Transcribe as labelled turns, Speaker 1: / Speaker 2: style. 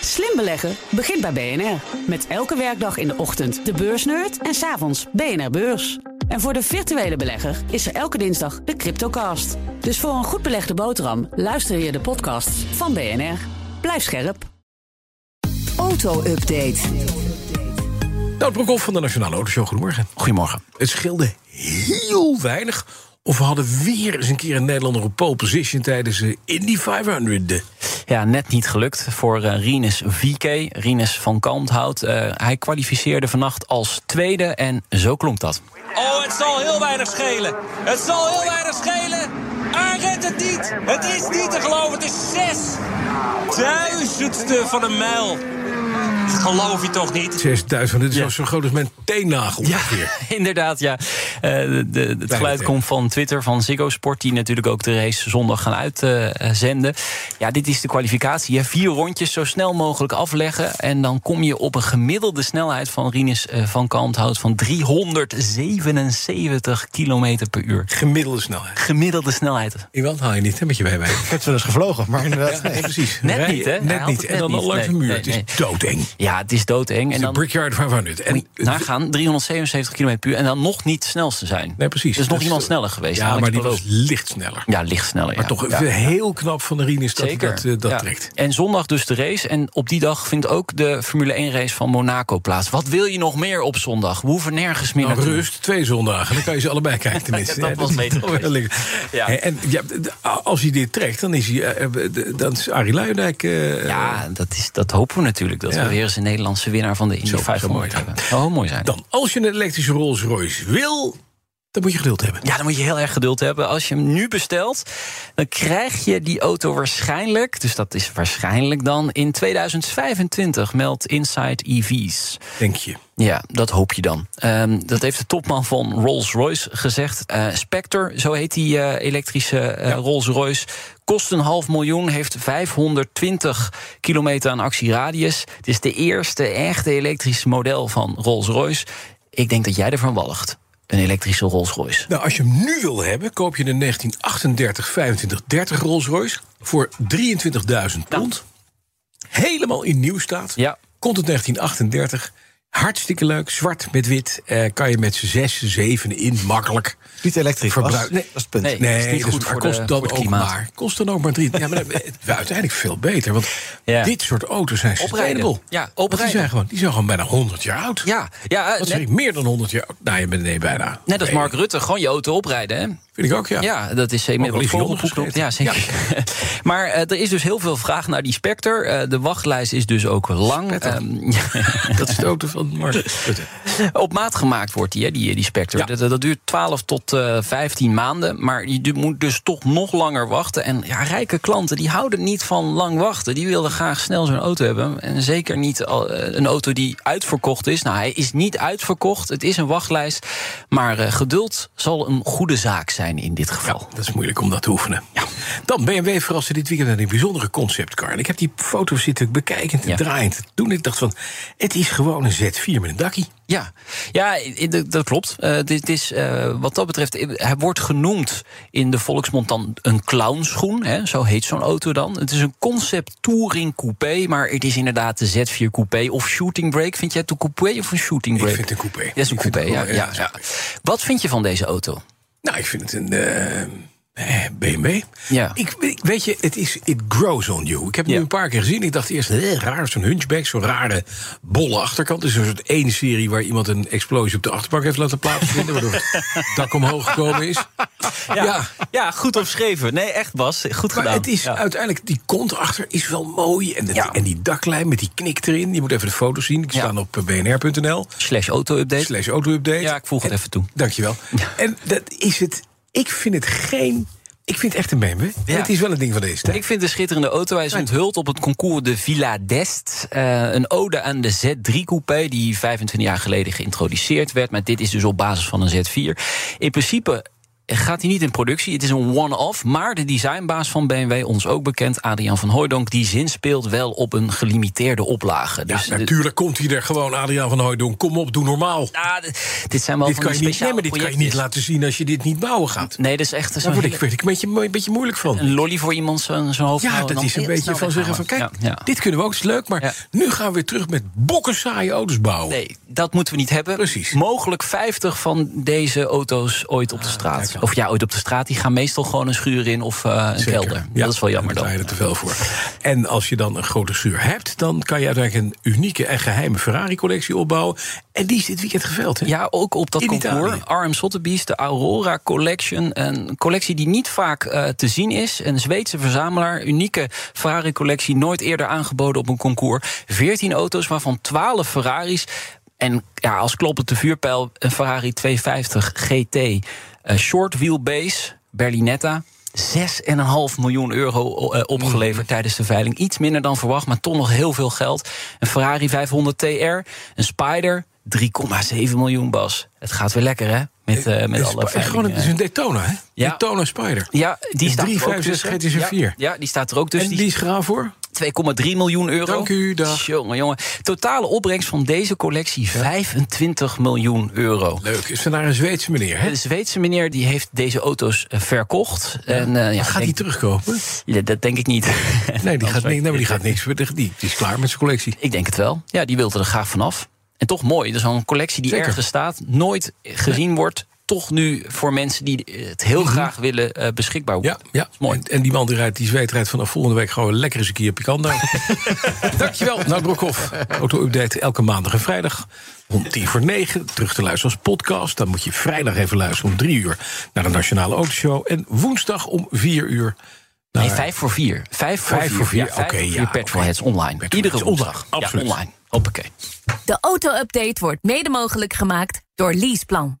Speaker 1: Slim beleggen begint bij BNR. Met elke werkdag in de ochtend de beursnerd en s'avonds BNR Beurs. En voor de virtuele belegger is er elke dinsdag de Cryptocast. Dus voor een goed belegde boterham luister je de podcast van BNR. Blijf scherp.
Speaker 2: Auto-update.
Speaker 3: Nou, Broekhoff van de Nationale Autoshow, goedemorgen.
Speaker 4: Goedemorgen.
Speaker 3: Het scheelde heel weinig. Of we hadden weer eens een keer een Nederlander op pole position tijdens de Indy 500.
Speaker 4: Ja, net niet gelukt voor eh, Rinus VK, Rinus van Kalmthout. Eh, hij kwalificeerde vannacht als tweede en zo klonk dat.
Speaker 5: Oh, het zal heel weinig schelen. Het zal heel weinig schelen. Hij redt het niet. Het is niet te geloven. Het is zes duizendste van een mijl. Dat geloof je toch niet?
Speaker 3: 6000, dit is zo groot als mijn teennagel. ongeveer.
Speaker 4: Inderdaad, ja. Eh, de, de- het geluid
Speaker 3: hè?
Speaker 4: komt van Twitter, van Ziggo Sport... die natuurlijk ook de race zondag gaan uitzenden. ja, dit is de kwalificatie. hè. Vier rondjes zo snel mogelijk afleggen... en dan kom je op een gemiddelde snelheid van Rinus eh, van Kalmthout... van 377 kilometer per uur.
Speaker 3: Gemiddelde snelheid.
Speaker 4: Gemiddelde snelheid.
Speaker 3: Iemand haal je niet, hè, met je bijwijn.
Speaker 6: Ik heb ze wel eens gevlogen, maar inderdaad.
Speaker 3: Ja, precies.
Speaker 4: Net
Speaker 3: Rij je
Speaker 4: niet, hè? Hij
Speaker 3: Net
Speaker 4: haalt
Speaker 3: niet.
Speaker 4: het
Speaker 3: En dan
Speaker 4: net
Speaker 3: al langs de
Speaker 4: niet.
Speaker 3: muur.
Speaker 4: Nee,
Speaker 3: Het is
Speaker 4: nee,
Speaker 3: doodeng. Het
Speaker 4: Ja, het is doodeng.
Speaker 3: is
Speaker 4: En
Speaker 3: de
Speaker 4: dan
Speaker 3: Brickyard 500. En
Speaker 4: nagaan 377 km per uur en dan nog niet het snelste zijn.
Speaker 3: Nee, precies.
Speaker 4: Er is nog
Speaker 3: Dat
Speaker 4: iemand
Speaker 3: de-
Speaker 4: sneller geweest.
Speaker 3: Ja,
Speaker 4: Alex
Speaker 3: maar die
Speaker 4: Palou.
Speaker 3: was licht sneller.
Speaker 4: Ja, licht sneller.
Speaker 3: Maar
Speaker 4: ja.
Speaker 3: toch
Speaker 4: Ja.
Speaker 3: even heel knap van de Rinus dat hij
Speaker 4: Zeker.
Speaker 3: dat, eh, dat
Speaker 4: Ja.
Speaker 3: trekt.
Speaker 4: En zondag dus de race. En op die dag vindt ook de Formule 1 race van Monaco plaats. Wat wil je nog meer op zondag? We hoeven nergens meer
Speaker 3: Nou,
Speaker 4: naartoe.
Speaker 3: rust, twee zondagen. Dan kan je ze allebei kijken, tenminste.
Speaker 4: Dat
Speaker 3: hè.
Speaker 4: was
Speaker 3: is
Speaker 4: beter
Speaker 3: toch wel lekker.
Speaker 4: Ja.
Speaker 3: Hè, En ja, d- als hij dit trekt, dan is hij. eh, eh, d- Dan is Arie Luijendijk. eh,
Speaker 4: Ja, dat, is, dat hopen we natuurlijk. Dat
Speaker 3: Ja.
Speaker 4: we weer eens een Nederlandse winnaar van de Indy
Speaker 3: Zo, zo
Speaker 4: 500
Speaker 3: mooi.
Speaker 4: hebben. Oh, mooi zijn.
Speaker 3: Dan, als je een elektrische Rolls Royce wil, dan moet je geduld hebben.
Speaker 4: Ja, dan moet je heel erg geduld hebben. Als je hem nu bestelt, dan krijg je die auto waarschijnlijk... dus dat is waarschijnlijk dan in 2025, meldt Inside EV's.
Speaker 3: Denk je.
Speaker 4: Ja, dat hoop je dan. Ehm, dat heeft de topman van Rolls-Royce gezegd. Eh, Spectre, zo heet die eh, elektrische eh, Rolls-Royce... kost een half miljoen, heeft 520 kilometer aan actieradius. Het is de eerste echte elektrische model van Rolls-Royce. Ik denk dat jij ervan walgt, een elektrische Rolls-Royce.
Speaker 3: Nou, als je hem nu wil hebben, koop je een 1938, 25, 30 Rolls Royce voor 23.000 pond. Helemaal in nieuw staat.
Speaker 4: Ja.
Speaker 3: Komt het 1938. Hartstikke leuk, zwart met wit. Eh, kan je met z'n zes, zeven in, makkelijk.
Speaker 6: Niet elektrisch.
Speaker 3: Verbruik-
Speaker 6: was.
Speaker 3: Nee.
Speaker 6: dat is het punt.
Speaker 4: Nee.
Speaker 3: Nee,
Speaker 4: is niet
Speaker 3: dus-
Speaker 4: goed
Speaker 3: maar
Speaker 4: voor
Speaker 3: kost
Speaker 4: de-
Speaker 3: dan
Speaker 4: voor het
Speaker 3: ook
Speaker 4: klimaat.
Speaker 3: maar. Kost dan ook maar drie. Ja, maar het was uiteindelijk veel beter. Want
Speaker 4: Ja.
Speaker 3: dit soort auto's zijn
Speaker 4: Oprijden.
Speaker 3: sustainable.
Speaker 4: Ja,
Speaker 3: Want Die
Speaker 4: oprijden.
Speaker 3: zijn, gewoon, die zijn gewoon bijna 100 jaar oud.
Speaker 4: Ja, ja eh,
Speaker 3: Wat zeg
Speaker 4: net,
Speaker 3: ik, meer dan 100 jaar oud? Nou, je bent nee, bijna.
Speaker 4: net als
Speaker 3: Nee,
Speaker 4: Mark Rutte, gewoon je auto oprijden. Hè?
Speaker 3: Vind ik ook, ja.
Speaker 4: Ja, dat is zeker
Speaker 3: Ook al
Speaker 4: wat
Speaker 3: is hij
Speaker 4: Vogelkoek
Speaker 3: ondergeschreven.
Speaker 4: doet. Ja, zeker. maar eh, er is dus heel veel vraag naar die Spectre. Eh, de wachtlijst is dus ook lang. Ehm,
Speaker 3: Dat is de auto van Mark Rutte.
Speaker 4: op maat gemaakt wordt die, hè, die, die Spectre.
Speaker 3: Ja.
Speaker 4: Dat, dat duurt 12 tot eh 15 maanden. Maar je du- moet dus toch nog langer wachten. En ja, rijke klanten die houden niet van lang wachten. Die wilden graag snel zo'n auto hebben. En zeker niet al, eh, een auto die uitverkocht is. Nou, hij is niet uitverkocht. Het is een wachtlijst. Maar eh, geduld zal een goede zaak zijn in dit
Speaker 3: Ja,
Speaker 4: geval.
Speaker 3: dat is moeilijk om dat te oefenen. Dan BMW verraste dit weekend met een bijzondere conceptcar. En ik heb die foto's zitten bekijken, te
Speaker 4: Ja.
Speaker 3: draaien, te doen. Ik dacht van, het is gewoon een Z4 met een dakkie.
Speaker 4: Ja, ja i- i- dat- dat klopt. Eh, dit is, eh, wat dat betreft, i- hij wordt genoemd in de volksmond dan een clownschoen. Hè, zo heet zo'n auto dan. Het is een concept touring coupé, maar het is inderdaad de Z4 coupé of shooting break. Vind jij het een coupé of een shooting break?
Speaker 3: Ik vind het een coupé.
Speaker 4: Ja, het is een
Speaker 3: Ik vind
Speaker 4: coupé,
Speaker 3: het
Speaker 4: ja,
Speaker 3: een-
Speaker 4: ja,
Speaker 3: ja,
Speaker 4: ja.
Speaker 3: het is
Speaker 4: Wat vind je van deze auto?
Speaker 3: Nou, ik vind het een eh, eh, BMW.
Speaker 4: Ja.
Speaker 3: Ik, ik- weet je, het is it grows on you. Ik heb het
Speaker 4: Ja.
Speaker 3: nu een paar keer gezien. Ik dacht eerst, eh, raar, zo'n hunchback, zo'n rare bolle achterkant. Het is een soort één serie waar iemand een explosie op de achterbank heeft laten plaatsvinden, waardoor het dak omhoog gekomen is. ja.
Speaker 4: ja goed opschreven. Nee, echt Bas, goed
Speaker 3: Maar het is uiteindelijk, die kont achter is wel mooi. En, dat-
Speaker 4: Ja.
Speaker 3: en die daklijn met die knik erin. Je moet even de foto's zien. Die
Speaker 4: Ja.
Speaker 3: staan op eh, bnr.nl.
Speaker 4: Slash auto-update.
Speaker 3: Slash auto-update.
Speaker 4: Ja, ik voeg het
Speaker 3: En-
Speaker 4: even toe.
Speaker 3: Dankjewel. En dat is het. Ik vind het geen. Ik vind het echt een BMW. En
Speaker 4: Ja.
Speaker 3: het is wel een ding van deze tijd.
Speaker 4: Ik vind het een schitterende auto. Hij is onthuld op het concours de Villa d'Est. Eh, een ode aan de Z3-coupé die 25 jaar geleden geïntroduceerd werd. Maar dit is dus op basis van een Z4. In principe gaat hij niet in productie. Het is een one-off. Maar de designbaas van BMW, ons ook bekend, Adriaan van Hooijdonk... die zinspeelt wel op een gelimiteerde oplage.
Speaker 3: Ja,
Speaker 4: Dus de-
Speaker 3: natuurlijk komt hij er gewoon, Adriaan van Hooijdonk. Kom op, doe normaal.
Speaker 4: Ah, d- dit zijn wel
Speaker 3: dit
Speaker 4: van
Speaker 3: kan
Speaker 4: die
Speaker 3: je niet, nee,
Speaker 4: speciale
Speaker 3: maar dit kan je niet
Speaker 4: projectjes.
Speaker 3: laten zien als je dit niet bouwen gaat.
Speaker 4: Nee, dat is echt zo'n
Speaker 3: Daar word ik,
Speaker 4: hele-
Speaker 3: word ik een, beetje, een beetje moeilijk van.
Speaker 4: een lolly voor iemand zo'n zo'n hoofd.
Speaker 3: Ja,
Speaker 4: houden
Speaker 3: dat
Speaker 4: en dan
Speaker 3: is een
Speaker 4: heel
Speaker 3: beetje
Speaker 4: snel
Speaker 3: van zeggen van...
Speaker 4: weghalen.
Speaker 3: kijk,
Speaker 4: Ja, ja.
Speaker 3: dit kunnen we ook, is leuk... maar
Speaker 4: Ja.
Speaker 3: nu gaan we weer terug met bokken saaie auto's bouwen.
Speaker 4: Nee, dat moeten we niet hebben.
Speaker 3: Precies. Ah,
Speaker 4: Mogelijk 50 van deze auto's ooit op de straat. Of ja, ooit op de straat. Die gaan meestal gewoon een schuur in of eh, een
Speaker 3: Zeker.
Speaker 4: kelder.
Speaker 3: Ja,
Speaker 4: dat is wel jammer
Speaker 3: daar betaal
Speaker 4: dan.
Speaker 3: je er te veel voor. En als je dan een grote schuur hebt... dan kan je uiteindelijk een unieke en geheime Ferrari-collectie opbouwen. En die is dit weekend geveld, hè?
Speaker 4: Ja, ook op dat
Speaker 3: In
Speaker 4: concours.
Speaker 3: Italië.
Speaker 4: RM Sotheby's, de Aurora Collection. Een collectie die niet vaak eh, te zien is. Een Zweedse verzamelaar. Unieke Ferrari-collectie. Nooit eerder aangeboden op een concours. 14 auto's, waarvan 12 Ferraris. En ja, als kloppend de vuurpijl een Ferrari 250 GT. eh, short wheelbase, Berlinetta. 6,5 miljoen euro eh, opgeleverd tijdens de veiling. Iets minder dan verwacht, maar toch nog heel veel geld. Een Ferrari 500 TR, een Spider, 3,7 miljoen, Bas. Het gaat weer lekker, hè? Met, eh, met
Speaker 3: Een
Speaker 4: alle
Speaker 3: Spi- gewoon, Dus het is
Speaker 4: veilingen.
Speaker 3: een Daytona, hè?
Speaker 4: Ja.
Speaker 3: Daytona Spider.
Speaker 4: Ja, die
Speaker 3: een
Speaker 4: staat er ook
Speaker 3: 3,65
Speaker 4: tussen.
Speaker 3: GTC
Speaker 4: Ja,
Speaker 3: 4.
Speaker 4: ja, die staat er ook tussen.
Speaker 3: en
Speaker 4: Die
Speaker 3: die is graag voor?
Speaker 4: 2,3 miljoen euro.
Speaker 3: Dank u, dag.
Speaker 4: Jongen, jongen. Totale opbrengst van deze collectie 25 miljoen euro.
Speaker 3: Leuk, is vandaar een Zweedse meneer, hè?
Speaker 4: De Zweedse meneer die heeft deze auto's eh, verkocht. En, eh, ja,
Speaker 3: Gaat hij
Speaker 4: denk- Oh,
Speaker 3: terugkopen?
Speaker 4: Ja, dat denk ik niet.
Speaker 3: Nee, die gaat,
Speaker 4: niet.
Speaker 3: nee, nee, maar die gaat niks. Die, die is klaar met zijn collectie.
Speaker 4: Ik denk het wel. Ja, die wilde er graag vanaf. En toch mooi. Dus zo'n collectie die
Speaker 3: Zeker.
Speaker 4: ergens staat, nooit gezien wordt. Toch nu voor mensen die het heel graag willen eh, beschikbaar
Speaker 3: Mhm. Ja,
Speaker 4: worden.
Speaker 3: ja.
Speaker 4: is mooi.
Speaker 3: En, en die man die rijdt, die zweet rijdt vanaf volgende week gewoon lekker eens een keer pikando. Dankjewel, Nou Brokhoff. Auto-update elke maandag en vrijdag om tien voor negen. Terug te luisteren als podcast. Dan moet je vrijdag even luisteren om drie uur naar de Nationale Autoshow. En woensdag om vier uur naar
Speaker 4: Nee, vijf voor vier. Vijf voor
Speaker 3: Nou, Vijf
Speaker 4: vier.
Speaker 3: voor vier,
Speaker 4: Ja, vijf
Speaker 3: oké,
Speaker 4: voor vier
Speaker 3: ja,
Speaker 4: Petrolheads online.
Speaker 3: Petrolheads
Speaker 4: Iedere
Speaker 3: online,
Speaker 4: woensdag. Ja,
Speaker 3: absoluut.
Speaker 4: online. Hoppakee.
Speaker 2: De auto-update wordt mede mogelijk gemaakt door Leaseplan.